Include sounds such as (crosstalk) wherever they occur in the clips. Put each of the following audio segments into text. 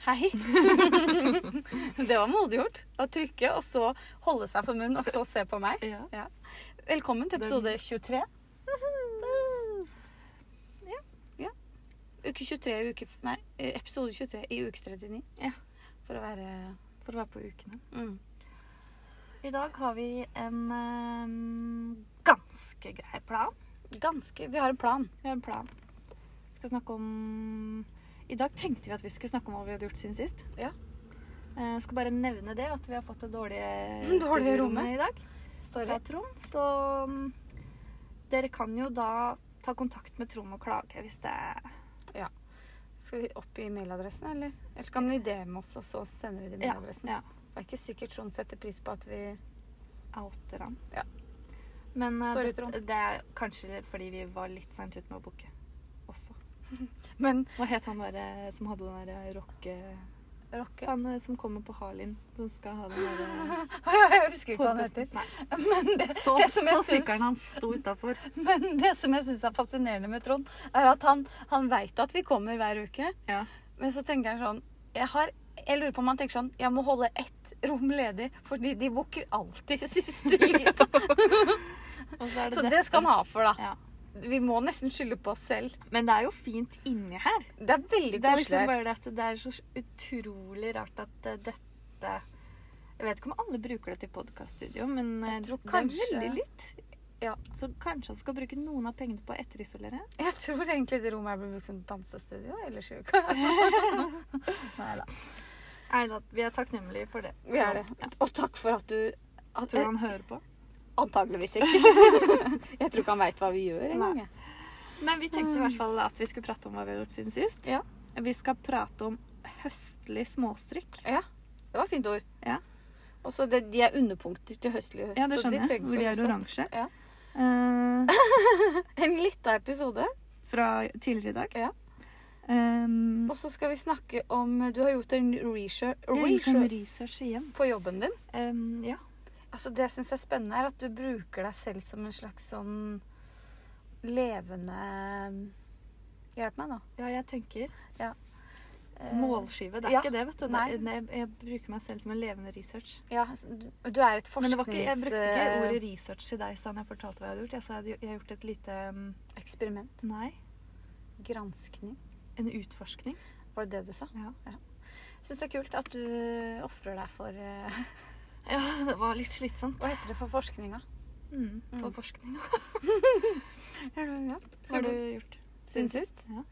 Hei. (laughs) det var modig gjort. Å trykke, og så holde seg for munnen, og så se på meg. Ja. Velkommen til episode 23. Ja. ja. Uke 23 i uke Nei, eh, episode 23 i uke 39. Ja. For å være For å være på ukene. mm. I dag har vi en ehm, ganske grei plan. ganske Vi har en plan. Vi har en plan. Skal snakke om I dag tenkte vi at vi skulle snakke om hva vi hadde gjort siden sist. Ja. Eh, skal bare nevne det, at vi har fått (laughs) det dårlige, Dårlige rommet. i dag. Fra Sorry. Trond. Så mm, dere kan jo da ta kontakt med Trond og klage hvis det Skal vi opp i mailadressen, eller? Eller så kan de DM oss, og så sender vi dem Ja, mailadressen. ja, Det er ikke sikkert Trond setter pris på at vi outer han. Ja. Men eh, Sorry, Trond. det, det er kanskje fordi vi var litt seint ute med å booke også. Men Hva het han derre som hadde den derre rocke... (laughs) rocke Han eh, som kommer på Harlin, som skal ha den derre Jeg husker ikke hva han heter. (laughs) Nei. Men det, Så, det som så jeg syns- sykkelen hans sto (laughs) utafor. Men det som jeg syns er fascinerende med Trond, er at han, han veit at vi kommer hver uke. Ja. Men så tenker han sånn jeg, har, jeg lurer på om han tenker sånn Jeg må holde ett rom ledig, fordi de booker alltid (laughs) siste liten. Og så er så det dette. skal han ha for, da. Ja. Vi må nesten skylde på oss selv. Men det er jo fint inni her. Det er veldig Det er koselig. liksom her. bare det at det er så utrolig rart at eh, dette Jeg vet ikke om alle bruker det til podkaststudio, men eh, Jeg tror det kanskje- er veldig lytt. Ja. Så kanskje han skal bruke noen av pengene på å etterisolere? Jeg tror egentlig det rommet her blir brukt som dansestudio ellers i uka. Nei da. Neida, Vi er takknemlige for det. (laughs) Vi er det. Ja. Og takk for at du at, Tror du han hører på? Antageligvis (laughs) ikke. jeg tror ikke han veit hva vi gjør engang. jeg. Men vi tenkte i hvert fall at vi skulle prate om hva vi har gjort siden sist. Mm. Ja. Vi skal prate om høstlig småstrikk. Ja, det var fint ord. Ja. Og så det- de er underpunkter til høstlig høst. Ja, det så de skjønner jeg. trenger Hvor de ikke er å- oransje. Ja. Eh, En lita episode. fra tidligere i dag. Ja. Um, Og så skal vi snakke om Du har gjort en research, jeg gjorde en research research igjen. på jobben din. Um, ja. Altså Det jeg syns er spennende, er at du bruker deg selv som en slags sånn levende Hjelp meg, nå. ja, jeg tenker Eh, målskive. Det er ja. ikke det, vet du. Nei. Det, det, jeg, jeg bruker meg selv som en levende research. Ja, altså, du, du er et Men det var ikke, jeg brukte ikke forskningseksperiment. ordet research til deg da jeg fortalte hva jeg hadde gjort. Jeg sa jeg hadde gjo- jeg har gjort et lite um, Nei, Granskning. en utforskning. Var det det du sa? Ja. Syns det er kult at du ofrer deg for eh, (laughs) ja, det var litt slitsomt. Hva heter det for forskninga? Mm, på Mm. forskning. Ja. Hva har du gjort? siden sist? Ja.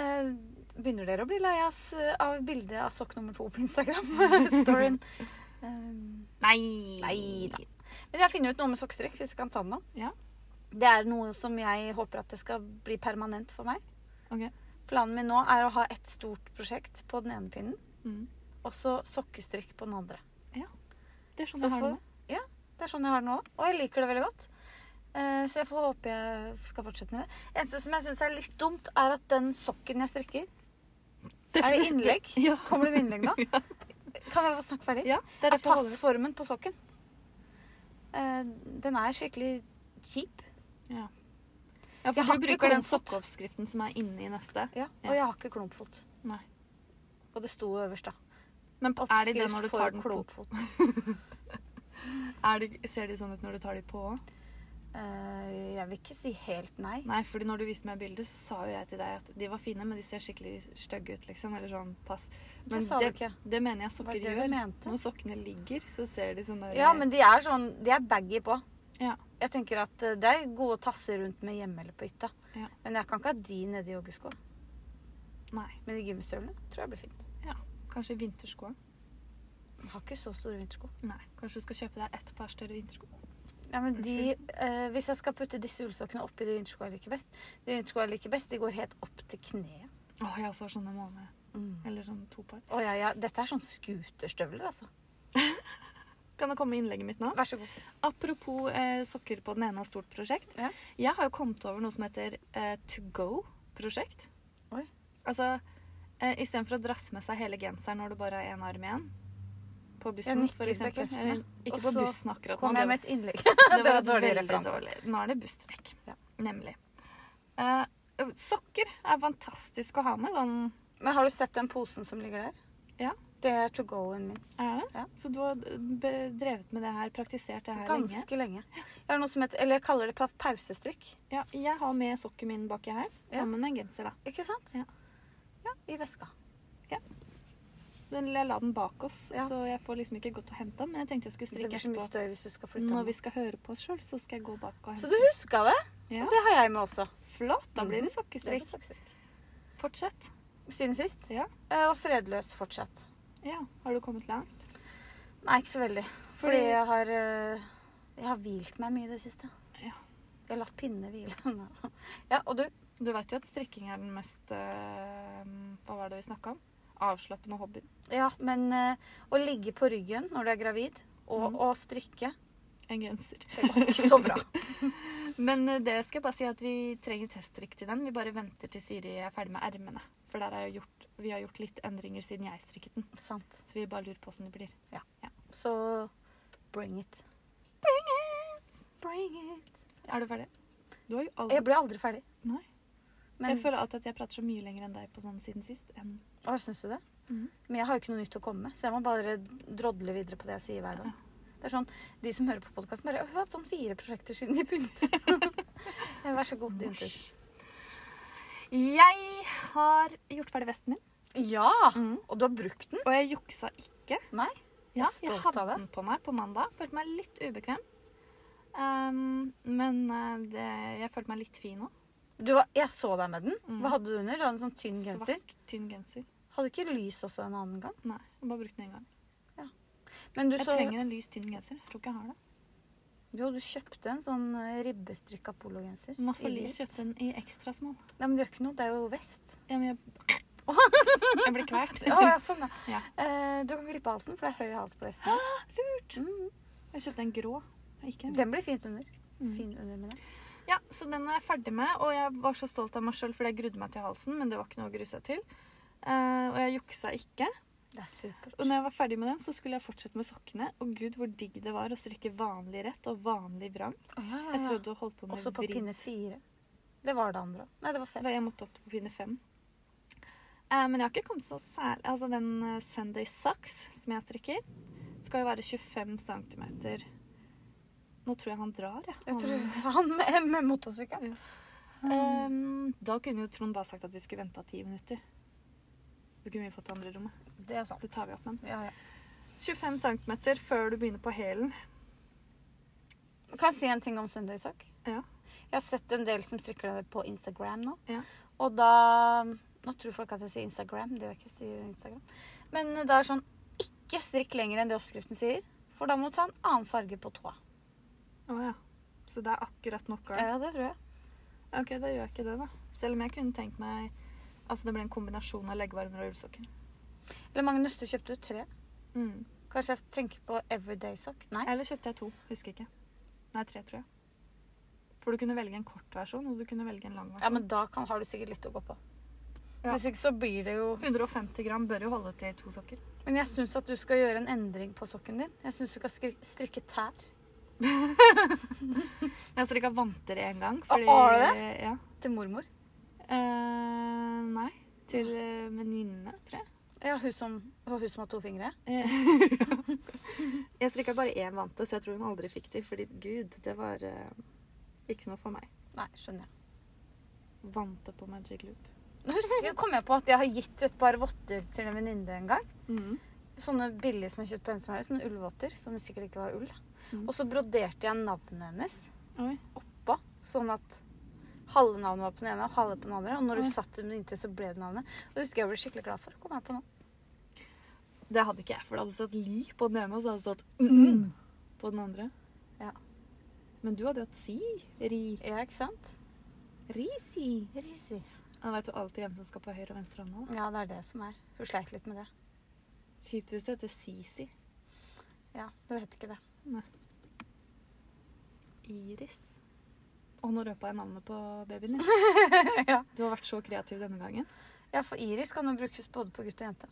Eh, begynner dere å bli lei av s- av bildet av sokk nummer to på Instagram? (laughs) Storyen. Eh, Nei! Nei da. men jeg har funnet ut noe med sokkestrekk, hvis jeg kan ta den nå. Ja. Det er noe som jeg håper at det skal bli permanent for meg. Ok. Planen min nå er å ha et stort prosjekt på den ene pinnen, Mm. og så sokkestrikk på den andre. Det er sånn Så jeg har det for- Det er sånn jeg har det nå, og jeg liker det veldig godt. Eh, Så jeg får håpe jeg skal fortsette med det. Eneste som jeg syns er litt dumt, er at den sokken jeg strikker nå. Er det innlegg? Ja. Kommer det med (laughs) innlegg nå? Kan jeg få snakke ferdig? ja. Det er Er derfor jeg holder det. passformen på sokken Eh, Den er skikkelig kjip. Ja, Jeg for har du ikke bruker den klumfot. sokkeoppskriften som er inne i nøstet. Ja. Ja. Og jeg har ikke klumpfot. Nei. Og det sto øverst, da. Men er det det når du for tar den på? klumpfot. Er det, ser de sånn ut når du tar de på òg? Eh, jeg vil ikke si helt nei. Nei, fordi når du viste meg bildet, så sa jo jeg til deg at de var fine, men de ser skikkelig stygge ut, liksom. Eller sånn pass. Men det sa det, du ikke. det mener jeg Var sokker det det gjør. du mente? Når sokkene ligger, så ser de sånn der Ja, men de er sånn De er baggy på. Ja. Jeg tenker at eh, det er gode tasser rundt med hjemme eller på hytta. Ja. Men jeg kan ikke ha de nedi joggeskoa. Nei. Men de gymstøvlene tror jeg blir fint. Kanskje vinterskoene. Jeg har ikke så store vintersko. Nei. Kanskje du skal kjøpe deg ett par større vintersko. Ja, men de, eh, hvis jeg skal putte disse ullsokkene oppi de vinterskoene jeg liker best De vinterskoene jeg liker best, de går helt opp til kneet. Å, jeg også har sånne måneder. Mm. Eller sånn to par. Å, ja, ja. Dette er sånn scooterstøvler, altså. Kan det komme innlegget mitt nå? Vær så god. Apropos eh, sokker på den ene og stort prosjekt. Ja. Jeg har jo kommet over noe som heter eh, to go-prosjekt. Oi. Altså eh, istedenfor å drasse med seg hele genseren når du bare har én arm igjen. På bussen, nikker for eksempel. bekreftende. Eller, ikke Og på så bussen akkurat nå. Kom jeg det med et (laughs) innlegg. var- det var et dårlig veldig referanse. dårlig- Nå er det busstrekk. Ja. Nemlig. Eh, sokker er fantastisk å ha med. Sånn Men har du sett den posen som ligger der? Ja. Det er to go-en min. Er det? Ja. Så du har eh, be- drevet med det her, praktisert det her lenge? Ganske lenge. Jeg har noe som heter, eller jeg kaller det pa- pausestrikk. Ja, jeg har med sokken min baki her, Ja. sammen med en genser, da. Ikke sant? Ja. Ja, I veska. Den, jeg la den bak oss, Ja. så jeg får liksom ikke gått og hente den. Men jeg tenkte jeg skulle Det strikke blir så mye etterpå. støy hvis du skal flytte Når den. vi skal høre på oss sjøl, liksom. så skal jeg gå bak og Så hente. du huska det? Ja. Det har jeg med også. Flott! Da blir Mm. det Det er sokkestrikk. besøksstrikk. Fortsett. Siden sist. Ja. Eh, Og fredløs fortsatt. ja. Har du kommet langt? Nei, ikke så veldig. Fordi, Fordi- jeg har eh, Jeg har hvilt meg mye i det siste. Ja. Jeg har latt pinne hvile. (laughs) ja, og du? Du veit jo at strikking er den mest eh, Hva var det vi snakka om? Avslappende hobby. Ja, men eh, å ligge på ryggen når du er gravid, og, Mhm. og strikke, En genser. det går ikke (laughs) så bra. Men eh, det skal jeg bare si at vi trenger teststrikk til den. Vi bare venter til Siri er ferdig med ermene. For der har jeg gjort, vi har gjort litt endringer siden jeg strikket den. Sant. Så vi bare lurer på åssen det blir. Så bring it. Bring it. Er du ferdig? Du har jo aldri Jeg ble aldri ferdig. Nei. Men, Jeg føler alltid at jeg prater så mye lenger enn deg på sånn siden sist. Enn... Å, syns du det? Mhm. Men jeg har jo ikke noe nytt å komme med, så jeg må bare drodle videre på det jeg sier hver gang. Det er sånn, De som hører på podkasten, bare «Å, 'Hun har hatt sånn fire prosjekter siden de begynte'. (laughs) Ja, Vær så god, din tur. Jeg har gjort ferdig vesten min. Ja! Og du har brukt den? Og jeg juksa ikke. Mm. Nei, jeg er Ja, jeg stolt hadde av det. den på meg på mandag. Følte meg litt ubekvem. Um, men eh, det, jeg følte meg litt fin òg. Du var, jeg så deg med den. Mhm. Hva hadde du under? Du hadde En sånn tynn genser? Svart, tynn genser. Hadde ikke lys også en annen gang? Nei, jeg bare brukte den én gang. Men du Jeg så trenger en lys, tynn genser. Jeg tror ikke jeg har det. Jo, du kjøpte en sånn eh, ribbestrikka pologenser. Man får I li- hvit. kjøpe den i ekstra small. Nei, men det gjør ikke noe. Det er jo (laughs) vest. Ja, men jeg (laughs) Jeg blir kvalt. Å ja, sånn, ja. Ja. Eh, du kan klippe halsen, for det er høy hals på vesten. Lurt! Mm. Jeg kjøpte en grå. Ikke en Den blir fint under. Mm. Fin under med det. Ja, så den er jeg ferdig med, og jeg var så stolt av meg sjøl fordi jeg grudde meg til halsen, men det var ikke noe å grue seg til. Eh, og jeg juksa ikke. Det er supert. Og når jeg var ferdig med den, så skulle jeg fortsette med sokkene. Og gud, hvor digg det var å strikke vanlig rett og vanlig vrang. Å, ja, ja, Jeg ja. trodde du holdt på med Også på vri. pinne fire. Det var det andre òg. Nei, det var fem. Hva, Jeg måtte opp på pinne fem. Eh, men jeg har ikke kommet så særlig Altså, den eh, Sunday Socks som jeg strikker, skal jo være 25 cm. Nå tror jeg han drar, jeg. Jeg Han- tror (laughs) han med, med motorsykkelen. Mm. Ehm, da kunne jo Trond bare sagt at vi skulle vente ti minutter. Så kunne vi fått det andre rommet. Det er sant. Det tar vi opp med. Ja, ja. 25 cm før du begynner på hælen. Kan jeg si en ting om søndagssak? Ja. Jeg har sett en del som strikker det på Instagram nå. Ja. Og da Nå tror folk at jeg sier Instagram, det gjør jeg ikke. jeg sier Instagram. Men da er det sånn Ikke strikk lenger enn det oppskriften sier, for da må du ta en annen farge på tåa. Å ja. Så det er akkurat nok av Ja, det tror jeg. Eh. Ok, da gjør jeg ikke det, da. Selv om jeg kunne tenkt meg Altså, det ble en kombinasjon av leggvarmer og ullsokker. Eller Magnus, du kjøpte jo tre. Mm. Kanskje jeg tenker på everyday sokk? Nei. Eller kjøpte jeg to. Husker ikke. Nei, tre, tror jeg. For du kunne velge en kort versjon, og du kunne velge en lang versjon. Ja, men da kan, har du sikkert litt å gå på. Ja. Hvis ikke så blir det jo 150 gram bør jo holde til to sokker. Men jeg syns at du skal gjøre en endring på sokken din. Jeg syns du skal skri strikke tær. Jeg strikka vanter én gang. har du Ja. Til mormor. Eh, nei. Til eh, venninne, tror jeg. Ja, hun som, og hun som har to fingre. Eh, (laughs) jeg strikka bare én vante, så jeg tror hun aldri fikk de. Fordi gud, det var eh, ikke noe for meg. Nei, skjønner jeg. Vante på Magic Loop. Nå husker jeg, kom jeg på at jeg har gitt et par votter til en venninne en gang. Mm. Sånne billige som jeg kjøpte på Ensemhaug. Sånne ullvotter som sikkert ikke var ull. Mm. Og så broderte jeg navnet hennes Oi. oppå, sånn at halve navnet var på den ene og halve på den andre. Og når Oi. du satte den inntil, så ble det navnet. Og det husker jeg jeg ble skikkelig glad for. Kom her på nå. Det hadde ikke jeg, for det hadde stått li på den ene, og så hadde det stått mm på den andre. Ja. Men du hadde jo hatt si. Ri. Ja, ikke sant? Risi. Risi. Han veit jo alltid hvem som skal på høyre og venstre hånd. Ja, det er det som er. Hun sleit litt med det. Kjipt hvis du heter Sisi. Ja, hun het ikke det. Iris. Og nå røpa jeg navnet på babyen din. (laughs) ja. Du har vært så kreativ denne gangen. ja, for Iris kan jo brukes både på gutt og jente.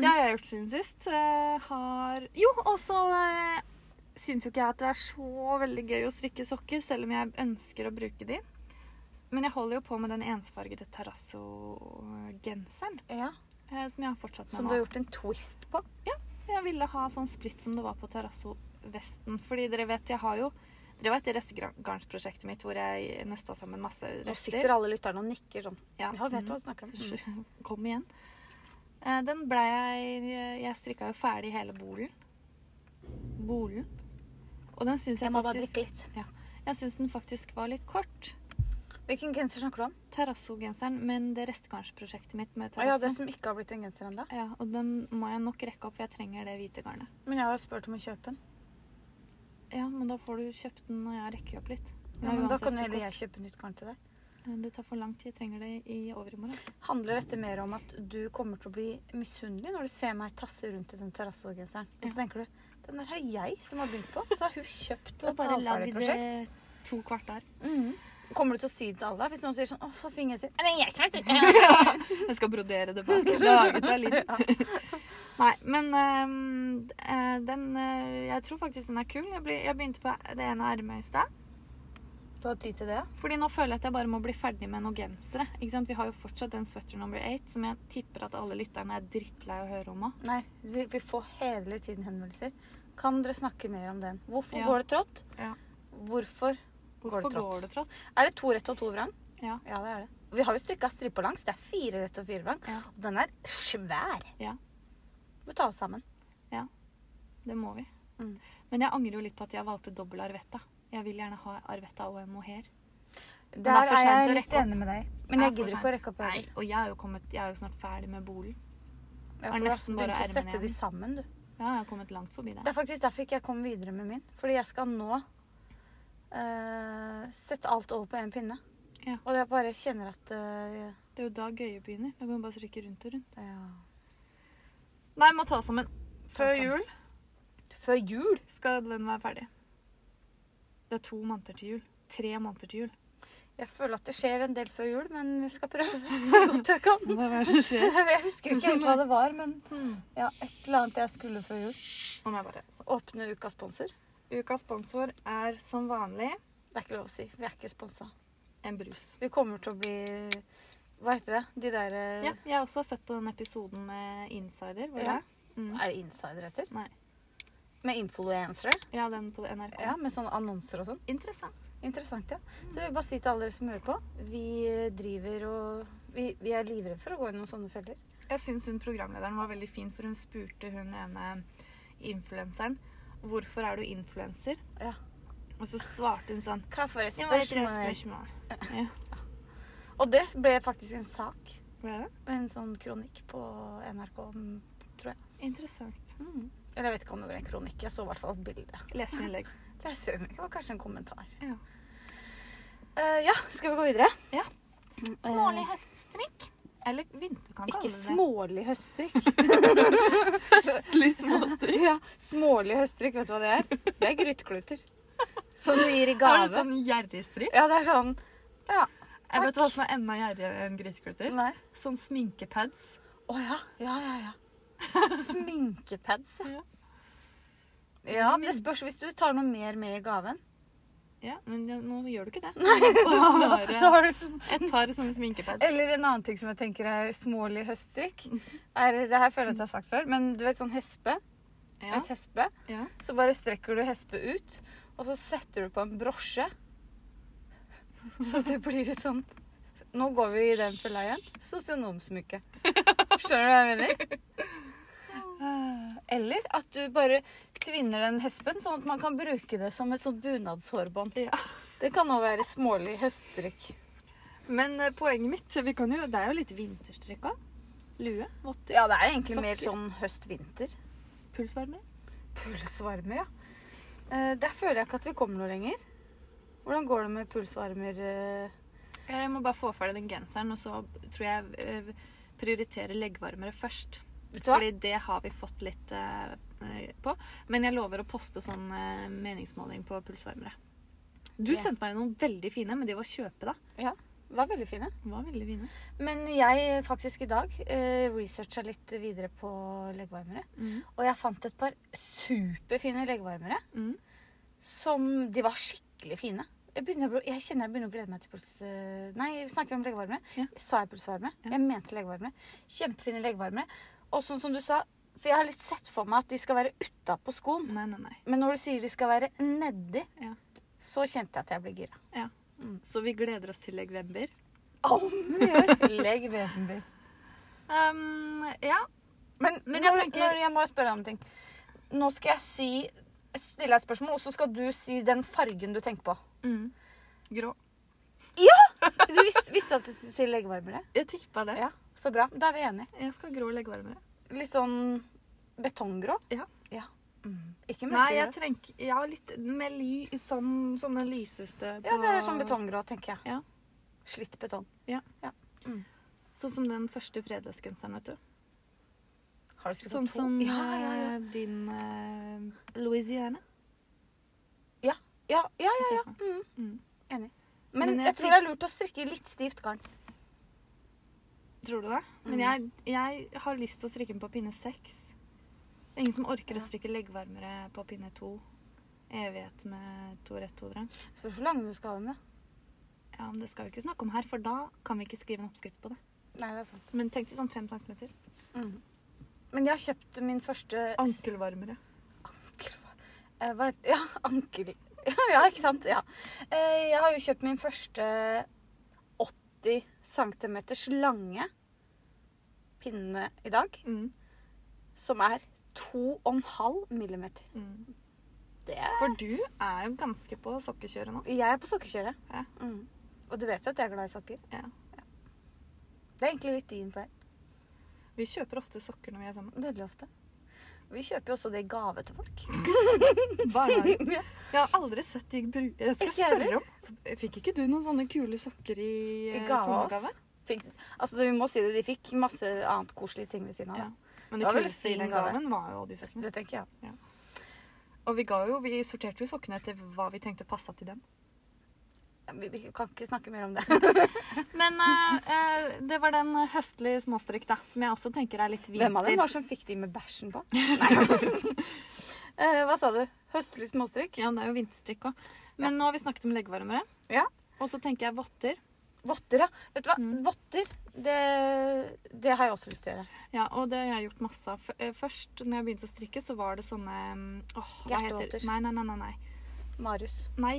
Det har jeg gjort siden sist. Eh, har Jo, og så eh, syns jo ikke jeg at det er så veldig gøy å strikke sokker, selv om jeg ønsker å bruke de. Men jeg holder jo på med den ensfargede terrasso-genseren Ja, eh, som jeg har fortsatt med Som du nå. har gjort en twist på. Jeg ville ha sånn splitt som det var på Terrasso-vesten. Fordi dere vet, jeg har jo Dere vet det restegarnsprosjektet mitt hvor jeg nøsta sammen masse Nå rester. sitter alle lytterne og nikker sånn. Ja, Ja, vet du mm. hva du snakker om? Mm. Så- (laughs) Kom igjen. Eh, Den ble jeg Jeg strikka jo ferdig hele bolen. Bolen. Og den syns jeg, Jeg må bare faktisk drikke litt. Jeg syns den faktisk var litt kort. Hvilken genser snakker du om? Terrasso-genseren, men det restegarnsprosjektet mitt med Å ja, terrasso. det som ikke har blitt en genser ennå. Ja, og den må jeg nok rekke opp, for jeg trenger det hvite garnet. Men jeg har jo spurt om å kjøpe den. Ja, men da får du kjøpt den når jeg rekker opp litt. Ja, men da Uansett kan jo hvor heller jeg kjøpe nytt garn til deg. kort- Det tar for lang tid. Jeg trenger det i overmorgen. Handler dette mer om at du kommer til å bli misunnelig når du ser meg tasse rundt i den terrassegenseren? Og Ja. så tenker du den der har jeg som har begynt på, så har hun kjøpt Da et bare lag halvferdig prosjekt. det to kvarter. Mhm. Kommer du til å si det til alle? Hvis noen sier sånn 'Å, så fin genser'. «Ja, Det er jeg som har stilt den! (laughs) Jeg skal brodere det bak. Laget av litt. Nei, men øhm, eh, den eh, Jeg tror faktisk den er kul. Jeg, blir- jeg begynte på det ene ermet i stad. (laughs) Du har tid til det? Fordi nå føler jeg at jeg bare må bli ferdig med noen gensere. Ikke sant? Vi har jo fortsatt den sweater number eight, som jeg tipper at alle lytterne er drittlei å høre om òg. Nei. Vi, vi får hele tiden henvendelser. Kan dere snakke mer om den? Hvorfor Ja. går det trått? Ja. Hvorfor? Går det Hvorfor trått? går det trått? Er det to rett og to vrang? Ja. Ja, det er det. Vi har jo strikka stripper langs. Det er fire rett og fire vrang. Ja. Og den er svær. Ja. Vi tar oss sammen. Det må vi. Mm. Men jeg angrer jo litt på at jeg valgte dobbel arvetta. Jeg vil gjerne ha arvetta og en mohair. Der er for er sent jeg å litt rekke opp. enig med deg. Men jeg Det er for gidder ikke å sent. rekke opp Nei, heller. og jeg er jo, kommet, jeg er jo snart ferdig med bolen. Ja, for er du har nesten bare begynt å ermene sette de igjen. sammen, du. Ja, jeg har kommet langt forbi Det det. er faktisk derfor ikke jeg kom videre med min. Fordi jeg skal nå eh, sette alt over på én pinne. Ja. Og jeg bare kjenner at eh, Det er jo da gøye begynner. Da kan man bare strikke rundt og rundt. ja. Nei, må ta sammen. Før sammen. jul Før jul skal den være ferdig. Det er to måneder til jul. Tre måneder til jul. Jeg føler at det skjer en del før jul, men jeg skal prøve (laughs) så godt jeg (laughs) kan. Hva er det som skjer? Jeg husker ikke helt hva det var, men Hmm. ja, et eller annet jeg skulle før jul. Nå må jeg bare sånn. Åpne ukas sponsor. Ukas sponsor er som vanlig Det er ikke lov å si. Vi er ikke sponsa. en brus. Vi kommer til å bli Hva heter det? De der eh, Ja, jeg også har sett på den episoden med Insider. Hvor Ja. ja. Mm. Er det insider heter? Nei. Med influensere? ja, den på NRK. Ja, med sånne annonser og sånn. Interessant. Interessant, ja. Så jeg vil bare si til alle dere som hører på, vi driver og vi, vi er livredde for å gå i noen sånne feller. Jeg syns hun programlederen var veldig fin, for hun spurte hun ene influenseren hvorfor er du influenser? Ja. Og så svarte hun sånn Hva for et «Det var et spørsmål? spørsmål. Og det ble faktisk en sak. Ble det? En sånn kronikk på NRK. om- Interessant. Mm. Eller jeg vet ikke om det var en kronikk. Jeg så i hvert fall et bilde. Leserinnlegg. Leser den ikke? Det var kanskje en kommentar. Ja. Eh, ja, skal vi gå videre? Ja. Mm, eh, (laughs) Smålig høststrikk. Eller vinter, kan Ikke kalle det. smålig høststrikk. (laughs) Høstlig småstrikk. Ja, Smålig høststrikk, vet du hva det er? Det er grytekluter. Som du gir i Er det gave. sånn gjerrigstrikk? Ja, det er sånn Ja. Jeg vet Takk. hva som er enda gjerrigere enn gryteklutter? Nei. Sånn sminkepads. Å ja. Ja, ja, ja. Sminkepads, ja. Ja. Ja, men det spørs hvis du tar noe mer med i gaven. Ja, men ja, nå gjør du (laughs) ikke det. (laughs) Da Bare har du- et par sånne sminkepads. Eller en annen ting som jeg tenker er smålig høststrikk. Er, det her føler jeg at jeg har sagt før, men du vet sånn hespe? Ja, Et hespe. ja. Så bare strekker du hespe ut, og så setter du på en brosje. Så det blir et sånn Nå går vi i den fella igjen. Sosionomsmykke. Skjønner du hva jeg mener? Eller at du bare tvinner den hespen, sånn at man kan bruke det som et sånt bunadshårbånd. ja. Det kan òg være smålig høststrikk. Men eh, poenget mitt vi kan jo, Det er jo litt vinterstrikk òg. Lue, votter, Ja, det er egentlig mer Sokker. sånn høst-vinter. pulsvarmere. Pulsvarmer, ja. Eh, Der føler jeg ikke at vi kommer noe lenger. Hvordan går det med pulsvarmer? eh? Ja, Jeg må bare få ferdig den genseren, og så tror jeg eh, prioriterer leggvarmere først. Vet du hva? Fordi det har vi fått litt eh, eh, på. Men jeg lover å poste sånn eh, meningsmåling på pulsvarmere. Du Ja. sendte meg jo noen veldig fine, men de var kjøpe, da. Var veldig fine. De var veldig fine. Men jeg faktisk i dag eh, researcha litt videre på leggvarmere. Og jeg fant et par superfine leggvarmere Mm. som De var skikkelig fine. Jeg, begynner, å bli- jeg kjenner jeg begynner å glede meg til puls... eh, Nei, snakket vi om legevarme? Ja. Sa jeg pulsvarme? Ja. Jeg mente legevarme. Kjempefine legevarme. Og sånn som du sa, for jeg har litt sett for meg at de skal være utapå skoen. Nei, nei, nei. Men når du sier de skal være nedi, Ja. så kjente jeg at jeg ble gira. Så vi gleder oss til legvember. Om vi gjør legevarme. Um, ja. Men, Men jeg når, tenker- når jeg må spørre om en ting. Nå skal jeg si, stille deg et spørsmål, og så skal du si den fargen du tenker på. Mm. Grå. Du visste, visste at du skulle si legevarmere? Jeg tippa det. Ja, så bra. Da er vi enige. Jeg skal ha grå leggvarmere. Litt sånn betonggrå? Ja. Mm. Ikke Nei, mørkegrå? jeg trenger Ja, litt med ly som, som den lyseste Ja, det er sånn betonggrå, tenker jeg. Ja. Slitt betong. Sånn som den første fredagensgenseren, vet du. Har du sikkert Sånn to? som ja, ja, ja. eh, din eh, Louisiana. ja, ja, ja. jeg ser for meg. Mm. Mm. Enig. Men, Men jeg jeg, tror det er lurt å strikke i litt stivt garn. Tror du det? Mm. Men jeg, jeg har lyst til å strikke den på pinne seks. Det er ingen som orker Ja. å strikke leggvarmere på pinne to. Evighet med to rett to vrang. Spørs hvor lang du skal ha den, da. Ja, men det skal vi ikke snakke om her, for da kan vi ikke skrive en oppskrift på det. Nei, det er sant. Men tenk deg sånn fem centimeter. Mm. Men jeg har kjøpt min første Ankelvarmere. Ankel- eh, hva het- Ja, ankel... (laughs) Ja, ikke sant? Ja. Eh, Jeg har jo kjøpt min første 80 cm lange pinne i dag, Mm. som er 2,5 mm. Mm. Det er For du er jo ganske på sokkekjøret nå. Jeg er på sokkekjøret. Ja. Mm. Og du vet jo at jeg er glad i sokker. Ja. Det er egentlig litt din feil. Vi kjøper ofte sokker når vi er (laughs) sammen. Veldig ofte. Vi kjøper jo også det i gave til folk. (laughs) Barnehager. Ja. Jeg har aldri sett de bru... Jeg skal Ikke heller. spørre om. Fikk ikke du noen sånne kule sokker i, I eh, gave av sommergave? oss. Fikk, altså, vi må si det, de fikk masse annet koselige ting ved siden av. Ja. da. Det Men det var veldig kuleste i fin den gave. gaven var jo de sokkene. Det tenker jeg. Og vi, ga jo, vi sorterte jo sokkene etter hva vi tenkte passa til dem. Ja, Vi, vi kan ikke snakke mer om det. Men eh, eh, det var den høstlige småstrikk, da, som jeg også tenker er litt vinter. Hvem av dem var det som fikk de med bæsjen på? Nei. (laughs) Eh, Hva sa du? Høstlig småstrikk? Ja, det er jo vinterstrikk òg. Men nå har vi snakket om leggevarmere. Ja. Og så tenker jeg votter. Votter, ja. Vet du hva? Mm. Votter, det, det har jeg også lyst til å gjøre. Ja, og det har jeg gjort masse av. F- eh, Først når jeg begynte å strikke, så var det sånne mm, Åh, hva heter Hjertevotter. Nei, nei, nei, nei. nei. Marius. nei.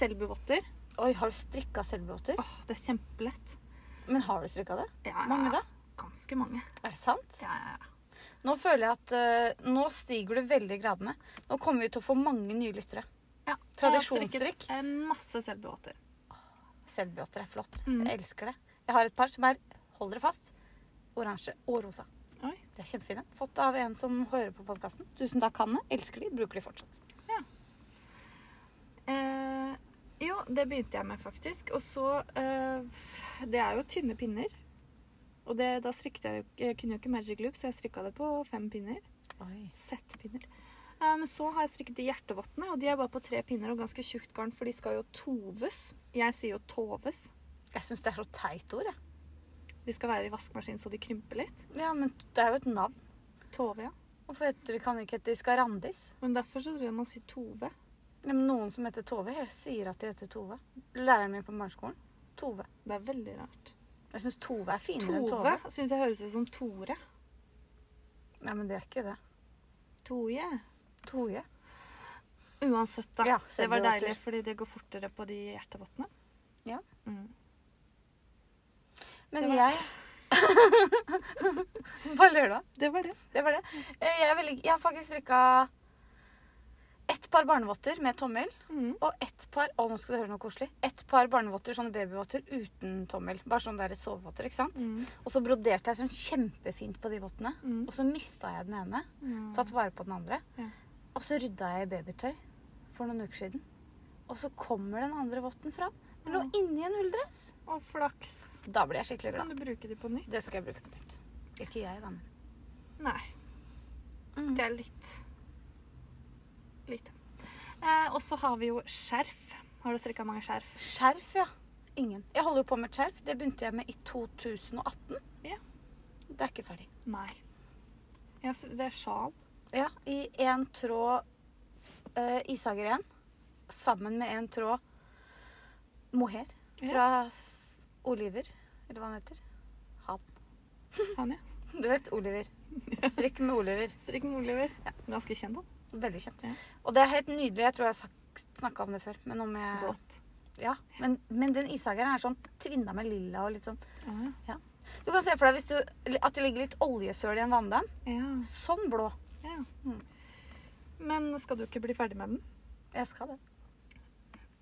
Selbuvotter. Oi, har du strikka selvbåter? Åh, det er kjempelett. Men har du strikka det? Ja, Mange, da? Ganske mange. Er det sant? Ja, ja, ja. Nå føler jeg at eh, nå stiger du veldig i gradene. Nå kommer vi til å få mange nye lyttere. Ja, Tradisjonsstrikk. Jeg har strikket, eh, masse selbåter. Selvbåter er flott. Mm. Jeg elsker det. Jeg har et par som er, hold dere fast, oransje og rosa. Oi. De er kjempefine. Fått av en som hører på podkasten. Tusen takk, Hanne. Elsker de, bruker de fortsatt. Eh, jo, det begynte jeg med faktisk. Og så eh, f- Det er jo tynne pinner. Og det, da strikket jeg jo ikke- Jeg kunne jo ikke Magic Loop, så jeg strikka det på fem pinner. Settpinner. Eh, Men så har jeg strikket de hjertevottene, og de er bare på tre pinner og ganske tjukt garn, for de skal jo toves. Jeg sier jo toves. Jeg syns det er så teit ord, jeg. De skal være i vaskemaskinen så de krymper litt. Ja, men det er jo et navn. Tove, ja. Hvorfor heter det, kan det ikke hete de Skarandis? Men derfor så tror jeg man sier Tove. Ja, men noen som heter Tove, jeg sier at de heter Tove. Læreren min på barneskolen. Tove. Det er veldig rart. Jeg syns Tove er finere enn Tove Tove. syns jeg høres ut som Tore. Nei, men det er ikke det. Toje. Toje. Uansett, da. Ja, det var selvbevatter. deilig, fordi det går fortere på de hjertevottene. Ja. Mm. Men Det var- jeg (laughs) Hva ler du av? Det var det. Det var det. Eh, Jeg, er veldig... jeg har faktisk strikka ett par barnevotter med tommel. Mm. Og ett par å, nå skal du høre noe koselig. Ett par barnevotter, sånne babyvotter uten tommel. Bare sånne der sovevotter, ikke sant? Mm. Og så broderte jeg sånn kjempefint på de vottene. Mm. Og så mista jeg den ene. Mm. Tatt vare på den andre. Ja. Og så rydda jeg i babytøy for noen uker siden. Og så kommer den andre votten fram. Den lå Ja. inni en ulldress. Mm. Og flaks. Da blir jeg skikkelig Kan glad. du bruke de på nytt? Det skal jeg bruke på nytt. Ikke jeg, da. men- Nei. Mm. Det er litt Lite. Eh, og så har vi jo skjerf. Har du strikka mange skjerf? Skjerf, ja. Ingen. Jeg holder jo på med et skjerf. Det begynte jeg med i 2018. Ja. Det er ikke ferdig. Nei. Jeg s- det er sjal. Ja, I én tråd eh, ishager igjen. Sammen med en tråd mohair fra Oliver, eller hva han heter. Han, ja. Du vet (laughs) Oliver. Strikk med Oliver. Strikk med Oliver. Ganske kjent, han. Veldig kjent. Ja. Og det er helt nydelig. Jeg tror jeg har snakka om det før. Men, om Så jeg, blått. ja. men, men den ishageren er sånn tvinna med lilla og litt sånn. Ja. Du kan se for deg hvis du, at det ligger litt oljesøl i en vanndam. ja. Sånn blå. Ja. Mm. Men skal du ikke bli ferdig med den? Jeg skal det.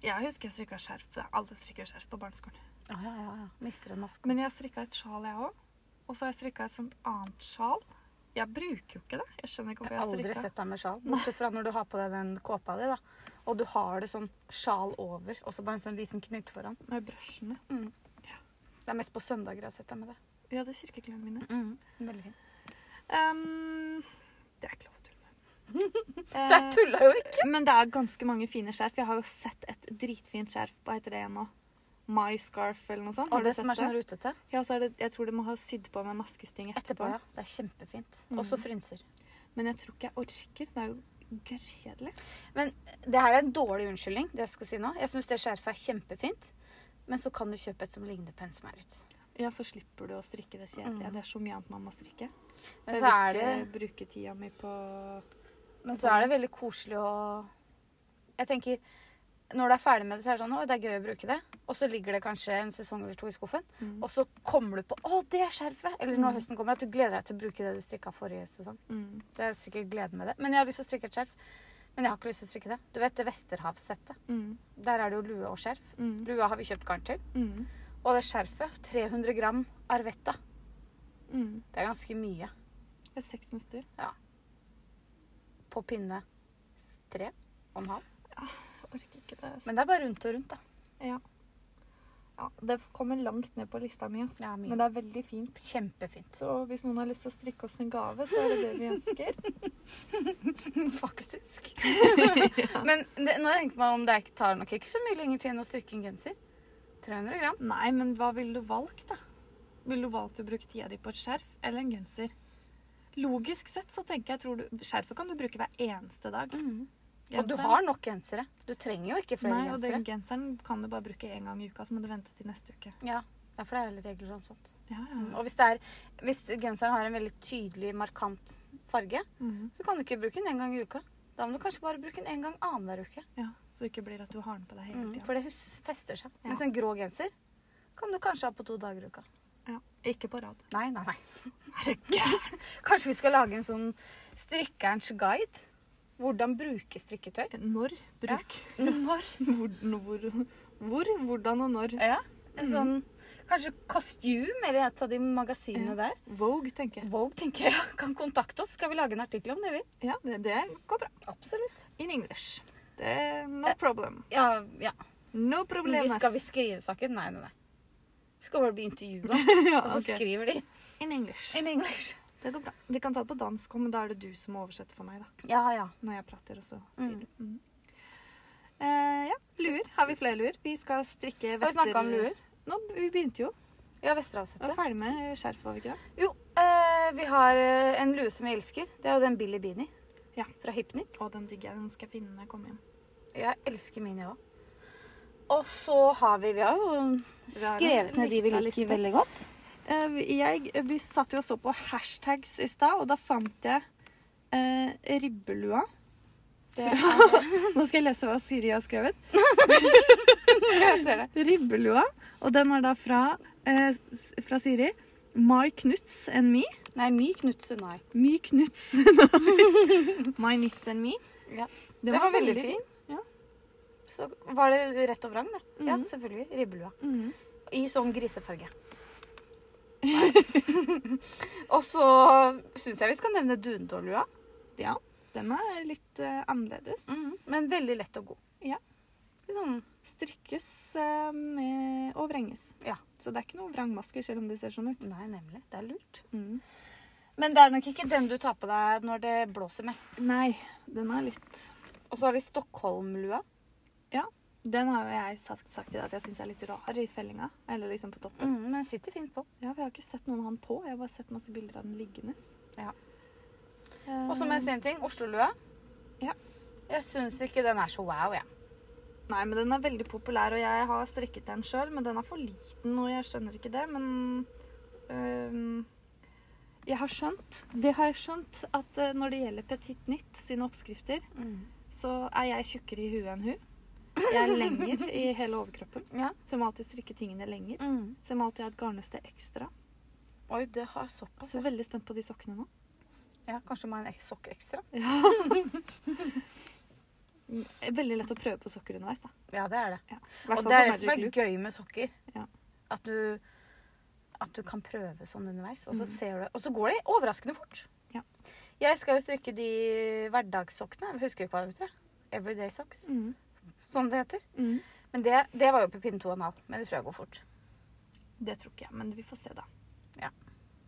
Jeg husker jeg strikka skjerf. Alle strikker skjerf på barneskolen. Ja, ja, ja. ja. Mister en maske. Men jeg strikka et sjal, jeg òg. Og så har jeg strikka et sånt annet sjal. Jeg bruker jo ikke det. Jeg skjønner ikke jeg har hvorfor aldri jeg strikka. sett deg med sjal. Bortsett fra når du har på deg den kåpa di, da. Og du har det sånn sjal over, og så bare en sånn liten knut foran. Med brøsjene. Det er mest på søndager jeg har sett deg med det. Vi hadde kirkeklærne mine. Mm. Veldig fint. Ehm, det er ikke lov å tulle (laughs) med. Der Eh, tulla jo ikke! Men det er ganske mange fine skjerf. Jeg har jo sett et dritfint skjerf. Hva heter det igjen nå? My scarf eller noe sånt. Og Har du det sett som er sånn det? rutete. Ja, så er det, jeg tror det må ha sydd på med maskesting Etterpå, ja. Det er kjempefint. Mm. Også frynser. Men jeg tror ikke jeg orker. Det er jo gørrkjedelig. Det her er en dårlig unnskyldning, det jeg skal si nå. Jeg syns det skjerfet er kjempefint, men så kan du kjøpe et som ligner på en som er litt Ja, så slipper du å strikke det kjedelige. Mm. Det er så mye annet man må strikke. Så Men jeg så er vil ikke bruke tida mi på Men så er det veldig koselig å Jeg tenker når du er ferdig med det, så er det sånn Å, det er gøy å bruke det. Og så ligger det kanskje en sesong eller to i skuffen. Mm. Og så kommer du på Å, det skjerfet! Eller når Mm. høsten kommer, at du gleder deg til å bruke det du strikka forrige sesong. Mm. sånn. Det er sikkert gleden med det. Men jeg har lyst til å strikke et skjerf. Men jeg har ikke lyst til å strikke det. Du vet det Vesterhavssettet. Mm. Der er det jo lue og skjerf. Mm. Lua har vi kjøpt garn til. Mm. Og det skjerfet, 300 gram Arvetta, Mm. det er ganske mye Det er seks nøster. på pinne tre og en halv. Jeg orker ikke det. altså. Men det er bare rundt og rundt, da. ja, det kommer langt ned på lista mi, ass. Ja, mye. Men det er veldig fint. Kjempefint. Så hvis noen har lyst til å strikke oss en gave, så er det det vi ønsker. (laughs) Faktisk. Men det, nå tenker jeg meg om det ikke tar nok ikke så mye lenger tid enn å strikke en genser. 300 gram. (laughs) Nei, men hva ville du valgt, da? Ville du valgt å bruke tida di på et skjerf eller en genser? Logisk sett så tenker jeg, tror du, skjerfet kan du bruke hver eneste dag. Og du har nok gensere. Du trenger jo ikke flere Nei, og gensere. den genseren kan du bare bruke én gang i uka, så må du vente til neste uke. Ja. ja, for det er heller regler om sånt. Ja, Mm. ja. Og hvis, det er, hvis genseren har en veldig tydelig, markant farge, Mhm. så kan du ikke bruke den en gang i uka. Da må du kanskje bare bruke den en gang annenhver uke. ja. Så det ikke blir at du har den på deg hele Mm, tida. for det hus fester seg. Ja. Mens en grå genser kan du kanskje ha på to dager i uka. Ja. Ikke på rad. Nei, nei, nei. Er du (laughs) gæren? Kanskje vi skal lage en sånn strikkerens guide? Hvordan bruke strikketøy? Når? Bruk. Når? Hvor, hvor, hvor, hvordan og når. Ja. En sånn Kanskje Kostyme eller et av de magasinene der. Vogue, tenker jeg. Vogue tenker jeg (laughs) kan kontakte oss. Skal vi lage en artikkel om det, vi? Ja, det, det går bra. Absolutt. In English. Det er no problem. Ja, ja. No Men problem. vi (laughs) skal vi skrive saken? Nei, nei, nei. Vi skal bare bli (laughs) intervjua, ja, og så ok. skriver de In English. in English. Det går bra. Vi kan ta det på dansk også, men da er det du som må oversette for meg, da. Ja, ja. Når jeg prater, og så sier Mm. du. Mm. Eh, ja, luer. Har vi flere luer? Vi skal strikke Har vi vester... snakka om luer? Nå, vi begynte jo. Ja, Vi var Vesterålsettet. ferdig med skjerf, var vi ikke det? Jo, eh, vi har eh, en lue som vi elsker. Det er jo den Billy Beanie Ja. fra Hipnit. Å, den digger jeg. Den skal jeg finne når jeg kommer hjem. Jeg elsker min, jeg òg. Og så har vi Vi har jo skrevet ned de vi lita liker liste. veldig godt. Eh, vi- jeg, vi satt jo og så på hashtags i stad, og da fant jeg eh, ribbelua. (laughs) Det er, Nå skal jeg lese hva Siri har skrevet. (laughs) jeg ser det. Ribbelua. Og den er da fra, eh, s- fra Siri. My Knuts and me. Nei, My Knutse, nei. My Knuts. (laughs) My Knits and me. Ja. Den Den var veldig fin. Ja. Så var det rett og vrang, det. Ja, Mhm. selvfølgelig. Ribbelua. Mhm. I sånn (laughs) grisefarge. og så syns jeg vi skal nevne dundålua. Ja. Den er litt eh, annerledes. Men veldig lett og god. Ja. Litt Sånn, Strikkes eh, med, og vrenges. Ja. Så det er ikke noe vrangmasker, selv om de ser sånn ut. nei, nemlig. Det er lurt. Mhm. Men det er nok ikke den du tar på deg når det blåser mest. Nei, den er litt Og så har vi Stockholmlua. Den har jo jeg sagt, sagt til deg at jeg syns er litt rar i fellinga. Eller liksom på toppen. Mm, men sitter fint på. Ja, for Jeg har ikke sett noen av han på. Jeg har bare sett masse bilder av den liggende. Ja. Eh, Og så må jeg si en ting. Oslolua. Ja. Jeg syns ikke den er så wow, jeg. Nei, men den er veldig populær, og jeg har strekket den sjøl, men den er for liten, og jeg skjønner ikke det, men øhm, Jeg har skjønt, det har jeg skjønt, at eh, når det gjelder Petit Nitt sine oppskrifter, Mm. så er jeg tjukkere i huet enn hun. Jeg er lenger i hele overkroppen, Ja. så jeg må alltid strikke tingene lenger. Mm. Så jeg må alltid ha et garnnøste ekstra. Oi, det har jeg såpass. Så veldig spent på de sokkene nå. Ja, kanskje må jeg ha en ek- sokk ekstra. Ja. Veldig lett å prøve på sokker underveis, da. Ja, det er det. I hvert Og fall det på er det som er Magic Loop. gøy med sokker. Ja. At du at du kan prøve sånn underveis, og så Mm. ser du det. Og så går det overraskende fort. Ja. Jeg skal jo strikke de hverdagssokkene. Jeg husker ikke hva de heter. jeg. Everyday socks, Mm. som det heter. Mm. Men det, det var jo på pinne 2,5. Men det tror jeg går fort. Det tror ikke jeg, men vi får se, da. Ja.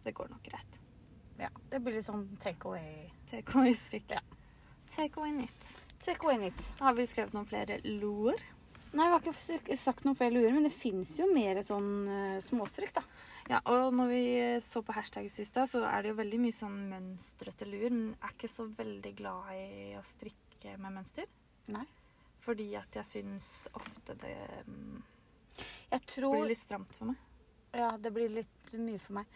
Det går nok greit. Ja, Det blir litt sånn take away. Take away strikk. Ja. Take away nytt. Take away knit. Har vi skrevet noen flere loer? Nei, jeg har ikke strik- sagt noe flere lurer, men det fins jo mer sånn eh, småstrikk, da. Ja, og når vi eh, så på hashtagget sist, da, så er det jo veldig mye sånn mønstrete lur. Men jeg er ikke så veldig glad i å strikke med mønster. Nei. Fordi at jeg syns ofte det mm, Jeg tror blir litt stramt for meg. Ja, det blir litt mye for meg.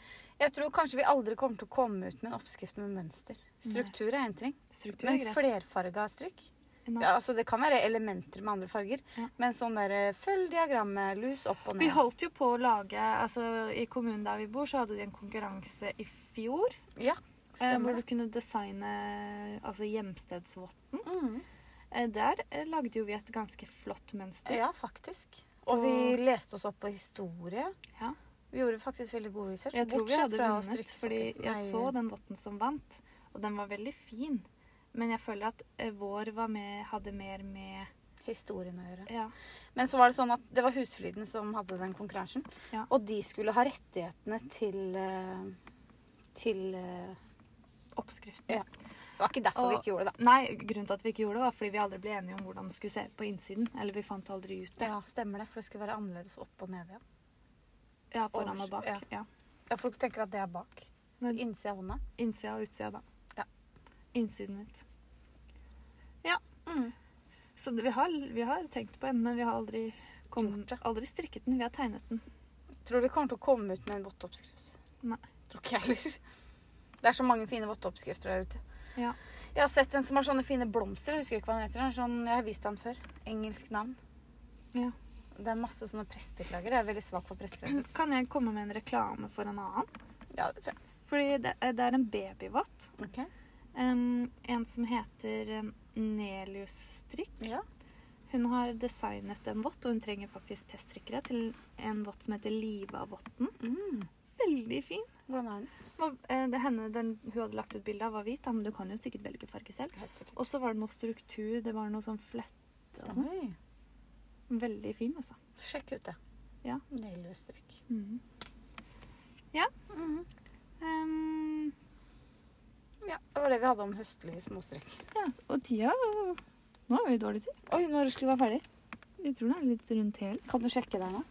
Jeg tror kanskje vi aldri kommer til å komme ut med en oppskrift med mønster. Struktur er én ting, Struktur er men greit. flerfarga strikk Nei. ja, altså Det kan være elementer med andre farger, Ja. men sånn derre Følg diagrammet, lus opp og Vi ned. holdt jo på å lage altså I kommunen der vi bor, så hadde de en konkurranse i fjor. Ja, Eh, hvor stemmer du det. kunne designe altså hjemstedsvotten. Mm. Eh, der eh, lagde jo vi et ganske flott mønster. Ja, faktisk. Og vi leste oss opp på historie. Ja. Vi gjorde faktisk veldig god research. Jeg tror vi bortsett hadde fra å vunnet, strikke fordi sokker. jeg Nei, eh, så den votten som vant, og den var veldig fin. Men jeg føler at eh, vår var med, hadde mer med Historien å gjøre. Ja. Men så var det sånn at det var Husfliden som hadde den konkurransen. Ja. Og de skulle ha rettighetene til eh, Til eh, Oppskriften. Ja. Det var ikke derfor vi Og- ikke gjorde det, da. Nei, grunnen til at vi ikke gjorde det, var fordi vi aldri ble enige om hvordan det skulle se ut på innsiden. Eller vi fant aldri ut det. Ja, stemmer det. For det skulle være annerledes opp og ned igjen. Ja, foran og Overs- bak. ja. Ja. Ja, Folk tenker at det er bak. Men Innsida av hånda. innsida og utsida, da. Ja. Innsiden ut. Mm. Så det, vi, har, vi har tenkt på en, men vi har aldri, kom, Gjort det. aldri strikket den. Vi har tegnet den. Tror du vi kommer til å komme ut med en votteoppskrift? Nei. Tror ikke jeg heller. Det er så mange fine votteoppskrifter der ute. Ja. Jeg har sett en som har sånne fine blomster. Jeg husker ikke hva den heter. Den er Sånn, jeg har vist den før. Engelsk navn. Ja. Det er masse sånne presteklager. Jeg er veldig svak for presteklager. (clears throat) Kan jeg komme med en reklame for en annen? Ja, det tror jeg. Fordi det, det er en babyvott. Ok. em, en som heter em, Nelius Strikk. Ja. Hun har designet en vott, og hun trenger faktisk teststrikkere til en vott som heter Liva-votten. Mm. Veldig fin. Hvordan er den? Og, eh, det henne den hun hadde lagt ut bilde av, var hvit, da, men du kan jo sikkert velge farge selv. Helt sikkert. Og så var det noe struktur, det var noe sånn flette og sånn. Oi. Veldig fin, altså. altså. Sjekk ut det. Ja. Nellestrykk. Mhm. Mm. Em, Ja, det var det vi hadde om høstlige småstrekk. ja, og tida øh, Nå har vi jo dårlig tid. Oi, når skulle vi være ferdig? Jeg tror det er litt rundt hel. Kan du sjekke der nå?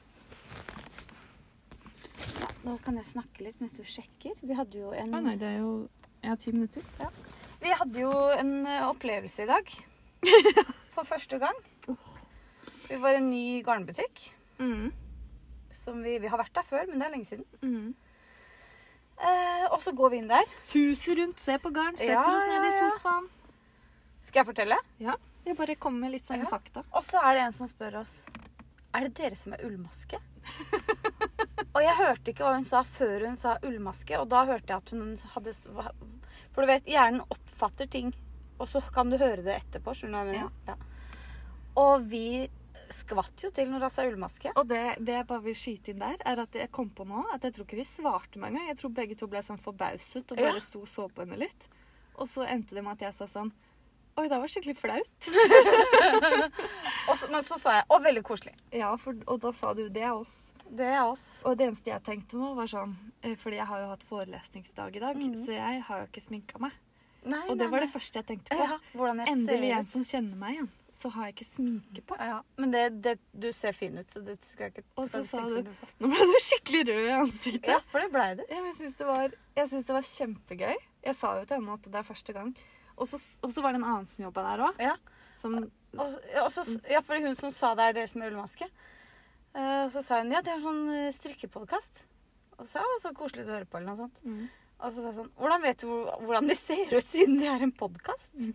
Ja, da kan jeg snakke litt mens du sjekker. Vi hadde jo en, Å nei, det er jo Jeg har ti minutter. vi hadde jo en eh, opplevelse i dag. (laughs) For første gang. Vi var i en ny garnbutikk. Mhm. Som vi, vi har vært der før, men det er lenge siden. Mhm. Eh, og så går vi inn der. Suser rundt, se på garn, setter Ja, oss ned ja, i ja. sofaen. Skal jeg fortelle? Ja. Jeg bare kommer med litt sånne Ja. fakta. Og så er det en som spør oss Er det dere som er (laughs) ullmaske? og jeg hørte ikke hva hun sa før hun sa ullmaske, og da hørte jeg at hun hadde s- hva- For du vet, hjernen oppfatter ting, og så kan du høre det etterpå. Skjønner du hva jeg mener? Ja. Og vi skvatt jo til når hun sa ullmaske. Og det, det jeg bare vil skyte inn der, er at jeg kom på nå at jeg tror ikke vi svarte med en gang. Jeg tror begge to ble sånn forbauset og bare Ja. sto og så på henne litt. Og så endte det med at jeg sa sånn Oi, det var skikkelig flaut. Og så, men så sa jeg Å, veldig koselig. (laughs) Ja, for, og da sa du det er oss. Det er oss. Og det eneste jeg tenkte på, var sånn eh, Fordi jeg har jo hatt forelesningsdag i dag, Mhm. så jeg har jo ikke sminka meg. Nei, Og det nei, var det nei. første jeg tenkte på. ja, Hvordan jeg Endelig en ser som ut. kjenner meg igjen. Så har jeg ikke sminke på. Ja, men det, det, du ser fin ut, så det skal jeg ikke Og så skal sa tenke du- så mye på. Nå ble du skikkelig rød i ansiktet. Ja, for det blei du. Ja, men Jeg syns det, var- jeg syns det var kjempegøy. Jeg sa jo til henne at det er første gang. Og så, og så var det en annen som jobba der òg. Ja. Som Og, og så, ja, fordi hun som sa det er dere som har ullmaske. Eh, og så sa hun ja, det er en sånn eh, strikkepodkast. Og så sa jeg, «Å, så koselig du hører på, eller noe sånt. mm. Og så sa jeg sånn Hvordan vet du hvor- hvordan de ser ut, siden de er en podkast? Mm.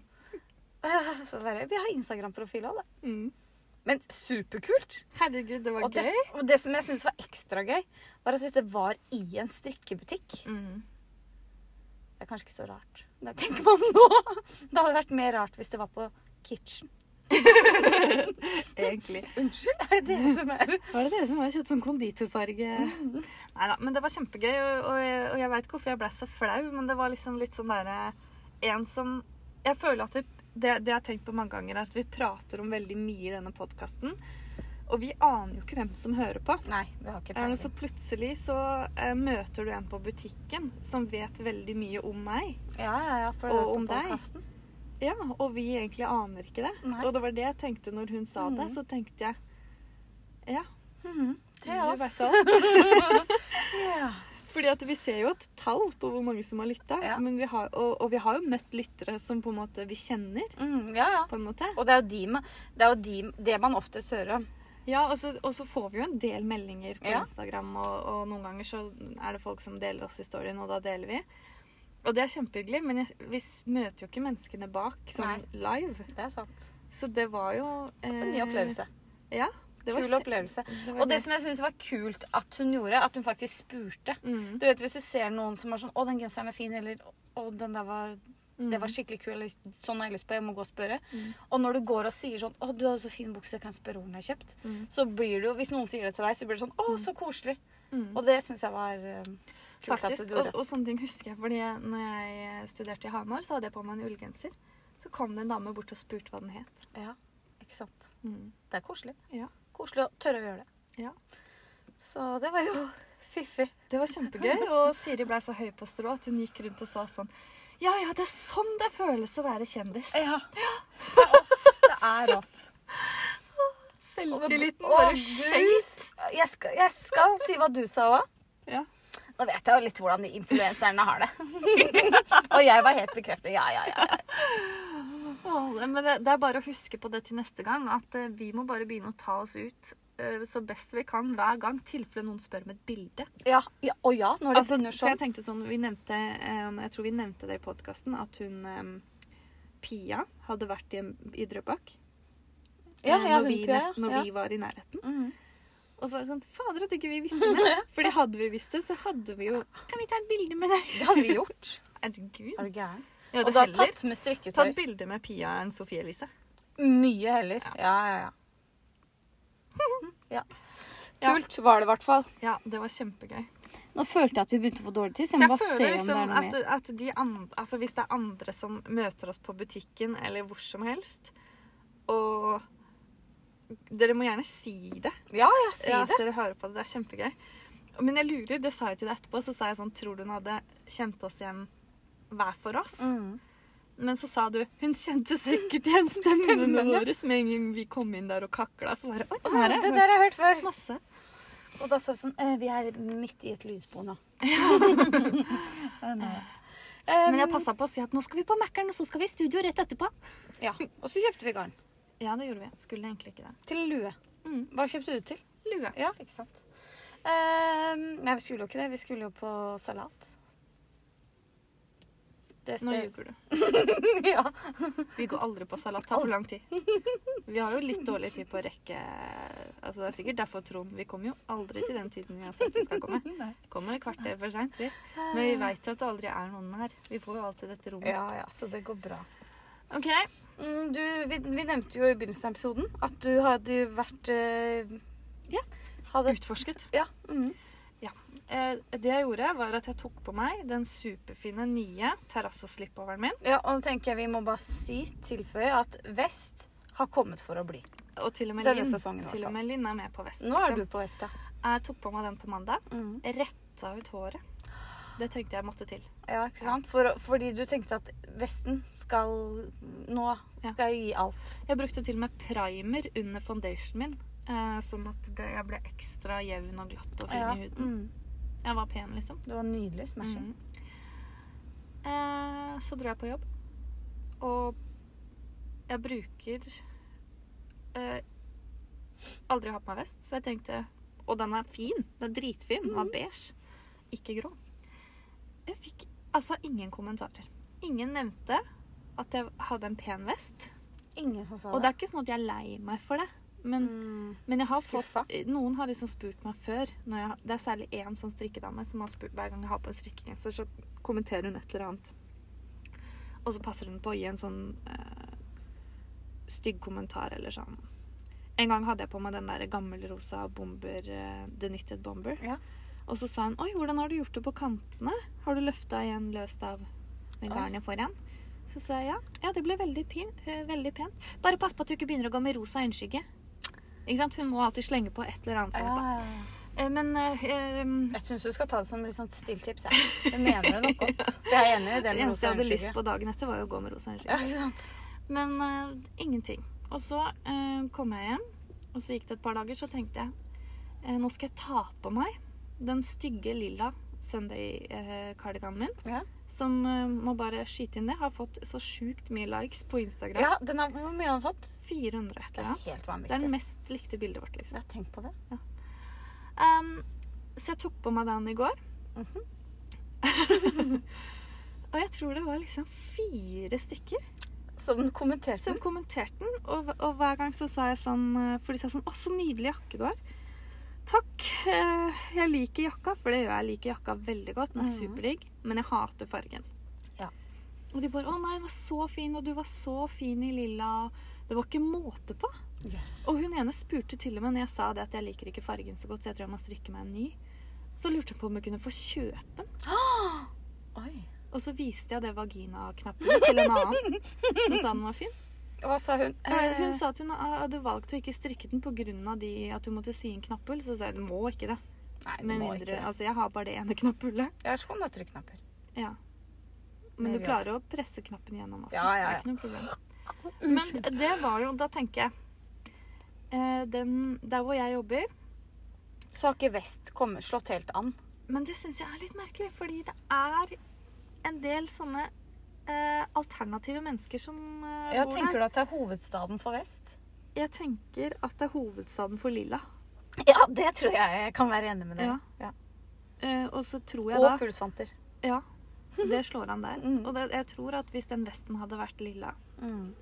(laughs) så bare Vi har Instagram-profil òg, da. Mm. Men superkult. Herregud, det var Og det, gøy. og det som jeg syntes var ekstra gøy, var at dette var i en strikkebutikk. Mm. Det er kanskje ikke så rart. Det tenker man nå. (laughs) Det hadde vært mer rart hvis det var på Kitchen. Egentlig. Unnskyld, er det dere som er Var det dere som var og kjøpte sånn konditorfarge? Neida, men det var kjempegøy, og, og, jeg- og jeg veit ikke hvorfor jeg ble så flau, men det var liksom litt sånn derre En som Jeg føler at vi, det, det jeg har tenkt på mange ganger, er at vi prater om veldig mye i denne podkasten, og vi aner jo ikke hvem som hører på. Nei, vi har ikke Eh, peiling. Så plutselig så eh, møter du en på butikken som vet veldig mye om meg. Ja, ja, ja, for Og det er på om deg. podcasten. Ja, og vi egentlig aner ikke det. Nei. Og det var det jeg tenkte når hun sa det, Mhm. så tenkte jeg Ja, Mhm, Det er du oss. vet (laughs) alt. Ja. Fordi at vi ser jo et tall på hvor mange som har lytta, Ja. men vi har, og, og vi har jo møtt lyttere som på en måte vi kjenner. Mhm, ja, ja. på en måte. Og det er jo de, man- det, er jo de, det man oftest hører om. Ja, og så, og så får vi jo en del meldinger på Ja. Instagram, og, og noen ganger så er det folk som deler oss i storyen, og da deler vi. Og det er kjempehyggelig, men jeg, vi s- møter jo ikke menneskene bak sånn live. Det er sant. Så det var jo eh, En ny opplevelse. Ja, det var Kul opplevelse. opplevelse. Og det som jeg syns var kult at hun gjorde, at hun faktisk spurte. mm, Du vet, Hvis du ser noen som er sånn 'Å, den genseren er fin', eller 'Å, den der var mm. Det var skikkelig kul. eller Sånn har jeg lyst på. Jeg må gå og spørre. Mm. Og når du går og sier sånn 'Å, du har jo så fin bukse. Kan jeg spørre hvor den er kjøpt?' Mm. Så blir det jo, Hvis noen sier det til deg, så blir det sånn 'Å, så koselig'. Mm. Og det syns jeg var eh, kult Faktisk, at du og, gjorde. og sånne ting husker jeg, fordi når jeg eh, studerte i Hamar, så hadde jeg på meg en ullgenser. Så kom det en dame bort og spurte hva den het. Ja, ikke sant. Mm. Det er koselig. Ja. Koselig å tørre å gjøre det. Ja. Så det var jo (laughs) fiffig. Det var kjempegøy, (laughs) og Siri ble så høy på strå at hun gikk rundt og sa sånn Ja, ja, det er sånn det føles å være kjendis. Ja. Det er oss. Det er (laughs) oss. Selvtilliten Å, bare du- skjøt. Jeg skal, jeg skal si hva du sa òg. Ja. Nå vet jeg jo litt hvordan de influenserne har det. (laughs) og jeg var helt bekreftet. Ja, ja, ja. ja. Å, Men det, det er bare å huske på det til neste gang, at eh, vi må bare begynne å ta oss ut eh, så best vi kan hver gang, tilfelle noen spør om et bilde. ja, ja og ja, når det Altså, begynner for sånn. jeg tenkte sånn, vi nevnte, em, jeg tror vi nevnte det i podkasten, at hun em, Pia hadde vært i, i Drøbak. Ja, eh, ja, når hun vi, Pia, nett- ja. når Ja. vi var i nærheten. Mhm. Og så var det sånn Fader, at ikke vi visste (laughs) det! Fordi hadde vi visst det, så hadde vi jo Kan vi ta et bilde med deg? Det hadde vi gjort. Herregud. (laughs) Er du gæren? Jeg Og hadde da heller tatt med tatt strikketøy. bilde med Pia enn Sofie Elise. Mye heller. Ja, ja, ja. (laughs) ja. Ja. Kult var det i hvert fall. Ja, det var kjempegøy. Nå følte jeg at vi begynte å få dårlig tid. Så jeg føler liksom at, at de andre, altså hvis det er andre som møter oss på butikken eller hvor som helst, og Dere må gjerne si det. Ja, ja, si ja, det. At dere hører på det. Det er kjempegøy. Men jeg lurer, det sa jeg til deg etterpå, så sa jeg sånn Tror du hun hadde kjent oss igjen hver for oss? Mm. Men så sa du hun kjente sikkert igjen stemmene Stemmen, ja. våre. Så med en gang vi kom inn der og kakla, så bare Oi, Ah, her det er der har jeg hørt før. masse. Og da sa jeg sånn «Eh, Vi er midt i et lydspor (laughs) nå. Eh, nei. Men jeg Um, passa på å si at nå skal vi på Mækkern, og så skal vi i studio rett etterpå. Ja, Og så kjøpte vi garn. Ja, det gjorde vi. Skulle egentlig ikke det. Til lue. Mm. Hva kjøpte du til? Lue. Ja, ikke sant. Ehm, nei, vi skulle jo ikke det. Vi skulle jo på salat. Det Nå stedet. (laughs) ljuger du. ja. Vi går aldri på salat. Tar for lang tid. Vi har jo litt dårlig tid på å rekke Altså Det er sikkert derfor, Trond. Vi kommer jo aldri til den tiden vi har sagt vi skal komme. Kommer et kvarter for seint, vi. Men vi veit jo at det aldri er noen her. Vi får jo alltid dette rommet. ja, ja, så det går bra. OK. Mm, du, vi, vi nevnte jo i begynnelsen av episoden at du hadde jo vært eh, Ja, Hadde et- Utforsket. Ja. mhm. Eh, det jeg gjorde, var at jeg tok på meg den superfine nye terrassoslipoveren min. ja, og nå tenker jeg vi må bare si, tilføye, at vest har kommet for å bli. Og til og med Denne Linn, sesongen i hvert til og fall. med Linn er med på vesten. Nå er du liksom. på vest, ja. Jeg tok på meg den på mandag. Mhm. Retta ut håret. Det tenkte jeg måtte til. Ja, ikke sant? For, fordi du tenkte at vesten skal Nå Ja. skal jeg gi alt. Jeg brukte til og med primer under foundationen min. Eh, sånn at det, jeg ble ekstra jevn og glatt og fin Ja. i huden. Mm. Mm. Jeg var pen, liksom. Mm. Det var nydelig smashing. Mhm. Eh, så dro jeg på jobb. Og Jeg bruker eh, aldri å ha på meg vest, så jeg tenkte Og den er fin. Den er dritfin. Den var beige. Ikke grå. Jeg fikk altså ingen kommentarer. Ingen nevnte at jeg hadde en pen vest. Ingen som sa Og det er ikke sånn at jeg er lei meg for det, men Mm. men jeg har Skuffa? fått, noen har liksom spurt meg før når jeg, Det er særlig én sånn strikkedame som har spurt hver gang jeg har på en strikkegenser, så kommenterer hun et eller annet. Og så passer hun på å gi en sånn eh, stygg kommentar eller sånn. En gang hadde jeg på meg den der gammelrosa bomber, eh, The Knitted Bomber. Ja. Og så sa hun 'Oi, hvordan har du gjort det på kantene? Har du løfta igjen løst av med Oi. garnet foran?' Så sa jeg ja. Ja, det ble veldig, pin, eh, veldig pent. Bare pass på at du ikke begynner å gå med rosa øyenskygge. Ikke sant? Hun må alltid slenge på et eller annet Ja, sånt. da. ja, ja. Eh, Men eh, eh, Jeg syns du skal ta det som litt sånn stilltips. Jeg. jeg mener det nok godt. For jeg er enig i det det med eneste rosa jeg hadde lyst øyenskygge. på dagen etter, var jo å gå med rosa øyenskygge. Ja, ikke sant? Men eh, ingenting. Og så eh, kom jeg hjem, og så gikk det et par dager, så tenkte jeg eh, nå skal jeg ta på meg den stygge lilla Sunday-kardiganen min. Ja. Som eh, må bare skyte inn det. Har fått så sjukt mye likes på Instagram. Ja, den har, Hvor mye har den fått? 400 et Det eller er annet. helt Det er vanvittig. den mest likte bildet vårt, liksom. Ja, tenk på det. Ehm, så jeg tok på meg den i går. Mhm. (laughs) og jeg tror det var liksom fire stykker Som den kommenterte som den. kommenterte den. Og, og hver gang så sa jeg sånn eh, For de sa sånn Å, så nydelig jakke du har. Takk. eh, Jeg liker jakka, for det gjør jeg. Jeg liker jakka veldig godt. Den er Mhm. superdigg, men jeg hater fargen. Ja. Og de bare 'Å nei, den var så fin, og du var så fin i lilla.' Det var ikke måte på. Yes. Og hun ene spurte til og med når jeg sa det at jeg liker ikke fargen så godt, så jeg tror jeg må strikke meg en ny. Så lurte hun på om hun kunne få kjøpe den. Oi. Og så viste jeg det vaginaknappen til en annen som sa den var fin. Hva sa hun? Eh, Eh, Hun sa at hun hadde valgt å ikke strikke den pga. De, at hun måtte sy inn knapphull. Så sa jeg du må ikke det. Nei, du Med må mindre, ikke det. altså Jeg har bare det ene knapphullet. Jeg er så god til å trykke knapper. Ja. Det Men du gjør klarer å presse knappen gjennom også. Ja, ja, ja. Det er ikke noe problem. Men det var jo Da tenker jeg eh, den, Der hvor jeg jobber Så har ikke vest kommet, slått helt an. Men det syns jeg er litt merkelig, fordi det er en del sånne eh, alternative mennesker som eh, Ja, bor tenker der. du at det er hovedstaden for vest? Jeg tenker at det er hovedstaden for lilla. Ja, det tror jeg jeg kan være enig med deg. Ja. Eh, og så tror jeg Og da pulsvanter. (laughs) Ja, det slår an der. Mm. Og det, jeg tror at hvis den vesten hadde vært lilla, Mm.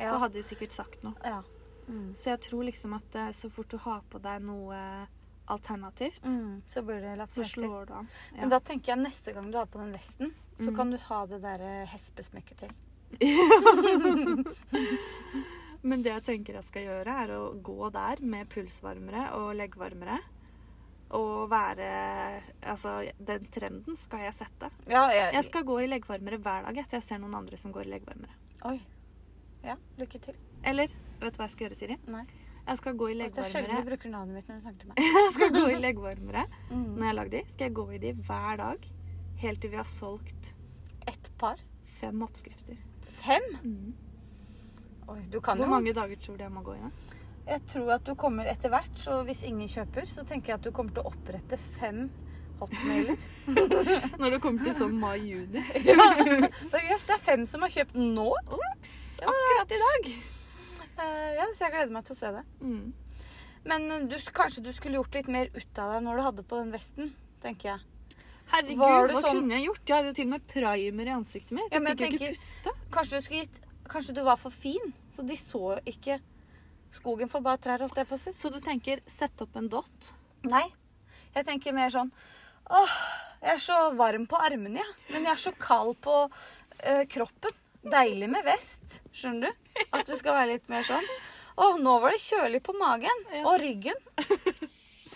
så Ja. hadde de sikkert sagt noe. ja. Mm. Så jeg tror liksom at eh, så fort du har på deg noe alternativt, Mm. Så blir det lagt så merke til. slår du an. ja. Men da tenker jeg neste gang du har på den vesten, så Mm. kan du ha det der eh, hespesmykket til. Men det jeg tenker jeg skal gjøre, er å gå der med pulsvarmere og leggvarmere. Og være Altså, den trenden skal jeg sette. Ja, jeg, Jeg skal gå i leggvarmere hver dag etter jeg ser noen andre som går i leggvarmere. Oi. Ja, lykke til. Eller vet du hva jeg skal gjøre, Siri? Nei. Jeg skal gå i Det er sjelden du leggvarmere. bruker navnet mitt når du snakker til meg. (laughs) Jeg skal gå i leggvarmere når Mm. jeg har lagd de. Skal jeg gå i de hver dag helt til vi har solgt Ett par? fem oppskrifter. Fem? Mm. Oi, du kan Hvor jo mange dager tror du jeg må gå i det? Jeg tror at du kommer etter hvert, så hvis ingen kjøper, så tenker jeg at du kommer til å opprette fem (laughs) hotmailer. (laughs) Når det kommer til sånn (laughs) mai-juni. Bare, Jøss, det er fem som har kjøpt nå! Ops! Det var Akkurat i dag. Eh, ja, så jeg gleder meg til å se det. Mm. Men eh, du, kanskje du skulle gjort litt mer ut av deg når du hadde på den vesten, tenker jeg. Herregud, Var det hva sånn- kunne jeg gjort? Jeg hadde jo til og med primer i ansiktet mitt. Ja, Jeg men fikk jo jeg tenker- ikke puste. Kanskje du skulle gitt Kanskje du var for fin, så de så ikke skogen for bare trær, holdt jeg på å si. Så du tenker sett opp en dott? Nei. Jeg tenker mer sånn Åh, jeg er så varm på armene, jeg. Men jeg er så kald på eh, kroppen. Deilig med vest. Skjønner du? At det skal være litt mer sånn. Åh, nå var det kjølig på magen. Ja. Og ryggen.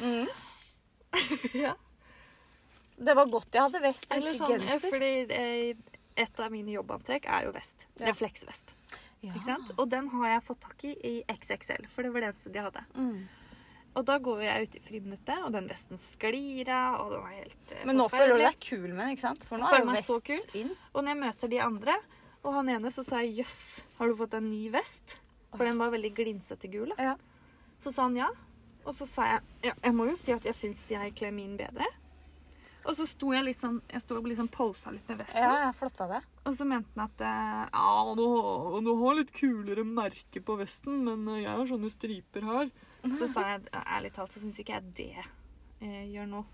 Mm. (laughs) Ja. Det var godt jeg hadde vest og Eller ikke sånn, eh, genser. fordi eh, et av mine jobbantrekk er jo vest. Ja. Refleksvest. Ikke sant? Og den har jeg fått tak i i XXL, for det var det eneste de hadde. Mm. Og da går jeg ut i friminuttet, og den vesten sklir av, og den er helt eh, Men nå føler du forferdelig. deg kul med den, ikke sant? For nå Jeg føler er jo meg så vest inn. Og når jeg møter de andre, og han ene, så sa jeg jøss, har du fått en ny vest? For den var veldig glinsete gul. da. Ja. Så sa han ja. Og så sa jeg ja, jeg må jo si at jeg syns jeg kler min bedre. Og så sto jeg litt sånn, jeg sto og liksom posa litt med vesten. Ja, jeg flotta det. Og så mente han at eh, ja, du har, du har litt kulere merke på vesten, men eh, jeg har sånne striper (laughs) her. Så sa jeg ærlig talt, så syns ikke jeg det eh, gjør noe.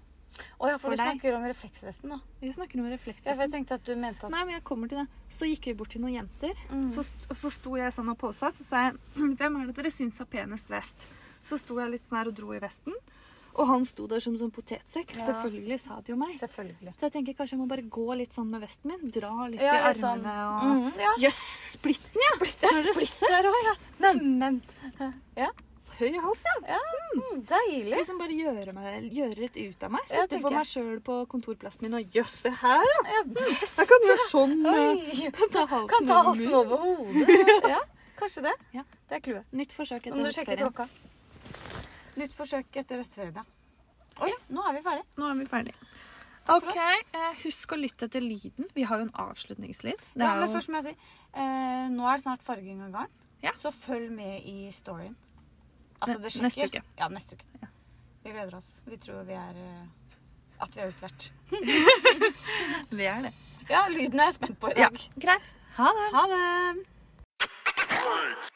Å ja, for, For du deg. snakker om refleksvesten nå. Vi snakker Ja, for om jeg refleksvesten. tenkte at du mente at Nei, men jeg kommer til det. Så gikk vi bort til noen jenter, Mm. så, st- og så sto jeg sånn og posa, så sa jeg (clears throat) hvem er det dere syns har penest vest? Så sto jeg litt sånn her og dro i vesten, og han sto der som sånn potetsekk. Ja. Selvfølgelig sa det jo meg. Selvfølgelig. Så jeg tenker kanskje jeg må bare gå litt sånn med vesten min, dra litt Ja, i litt sånn. armene og Mm, ja. Jøss, splitten, ja! Det Så er det splitt der òg, ja. Neimen. Høy hals, ja. Mm, deilig. Liksom bare gjøre, meg, gjøre litt ut av meg. Ja, Sitte for tenker jeg. meg sjøl på kontorplassen min og jøss, se her, ja! Ja, vest. Jeg kan gjøre sånn. eh, Oi. Kan ta halsen, Kan ta over halsen munnen. over hodet. (laughs) Ja, kanskje det. Ja. Det er clouet. Nytt forsøk Nå må du etter sjekke høstferien. klokka. Nytt forsøk etter høstferien, ja. Oi, nå er vi ferdige. Nå er vi ferdige. Takk for Ok, eh, Husk å lytte etter lyden. Vi har jo en avslutningslyd. Det Ja, er men jo- først må jeg si, eh, nå er det snart farging av garn. Ja. Så følg med i storyen. Altså, Ne- det neste sjekker. uke. Ja, neste uke. Vi gleder oss. Vi tror vi er eh, at vi er utlært. Vi er det. Ja, lyden er jeg spent på i Ja, dag. Greit. Ha det. Ha det!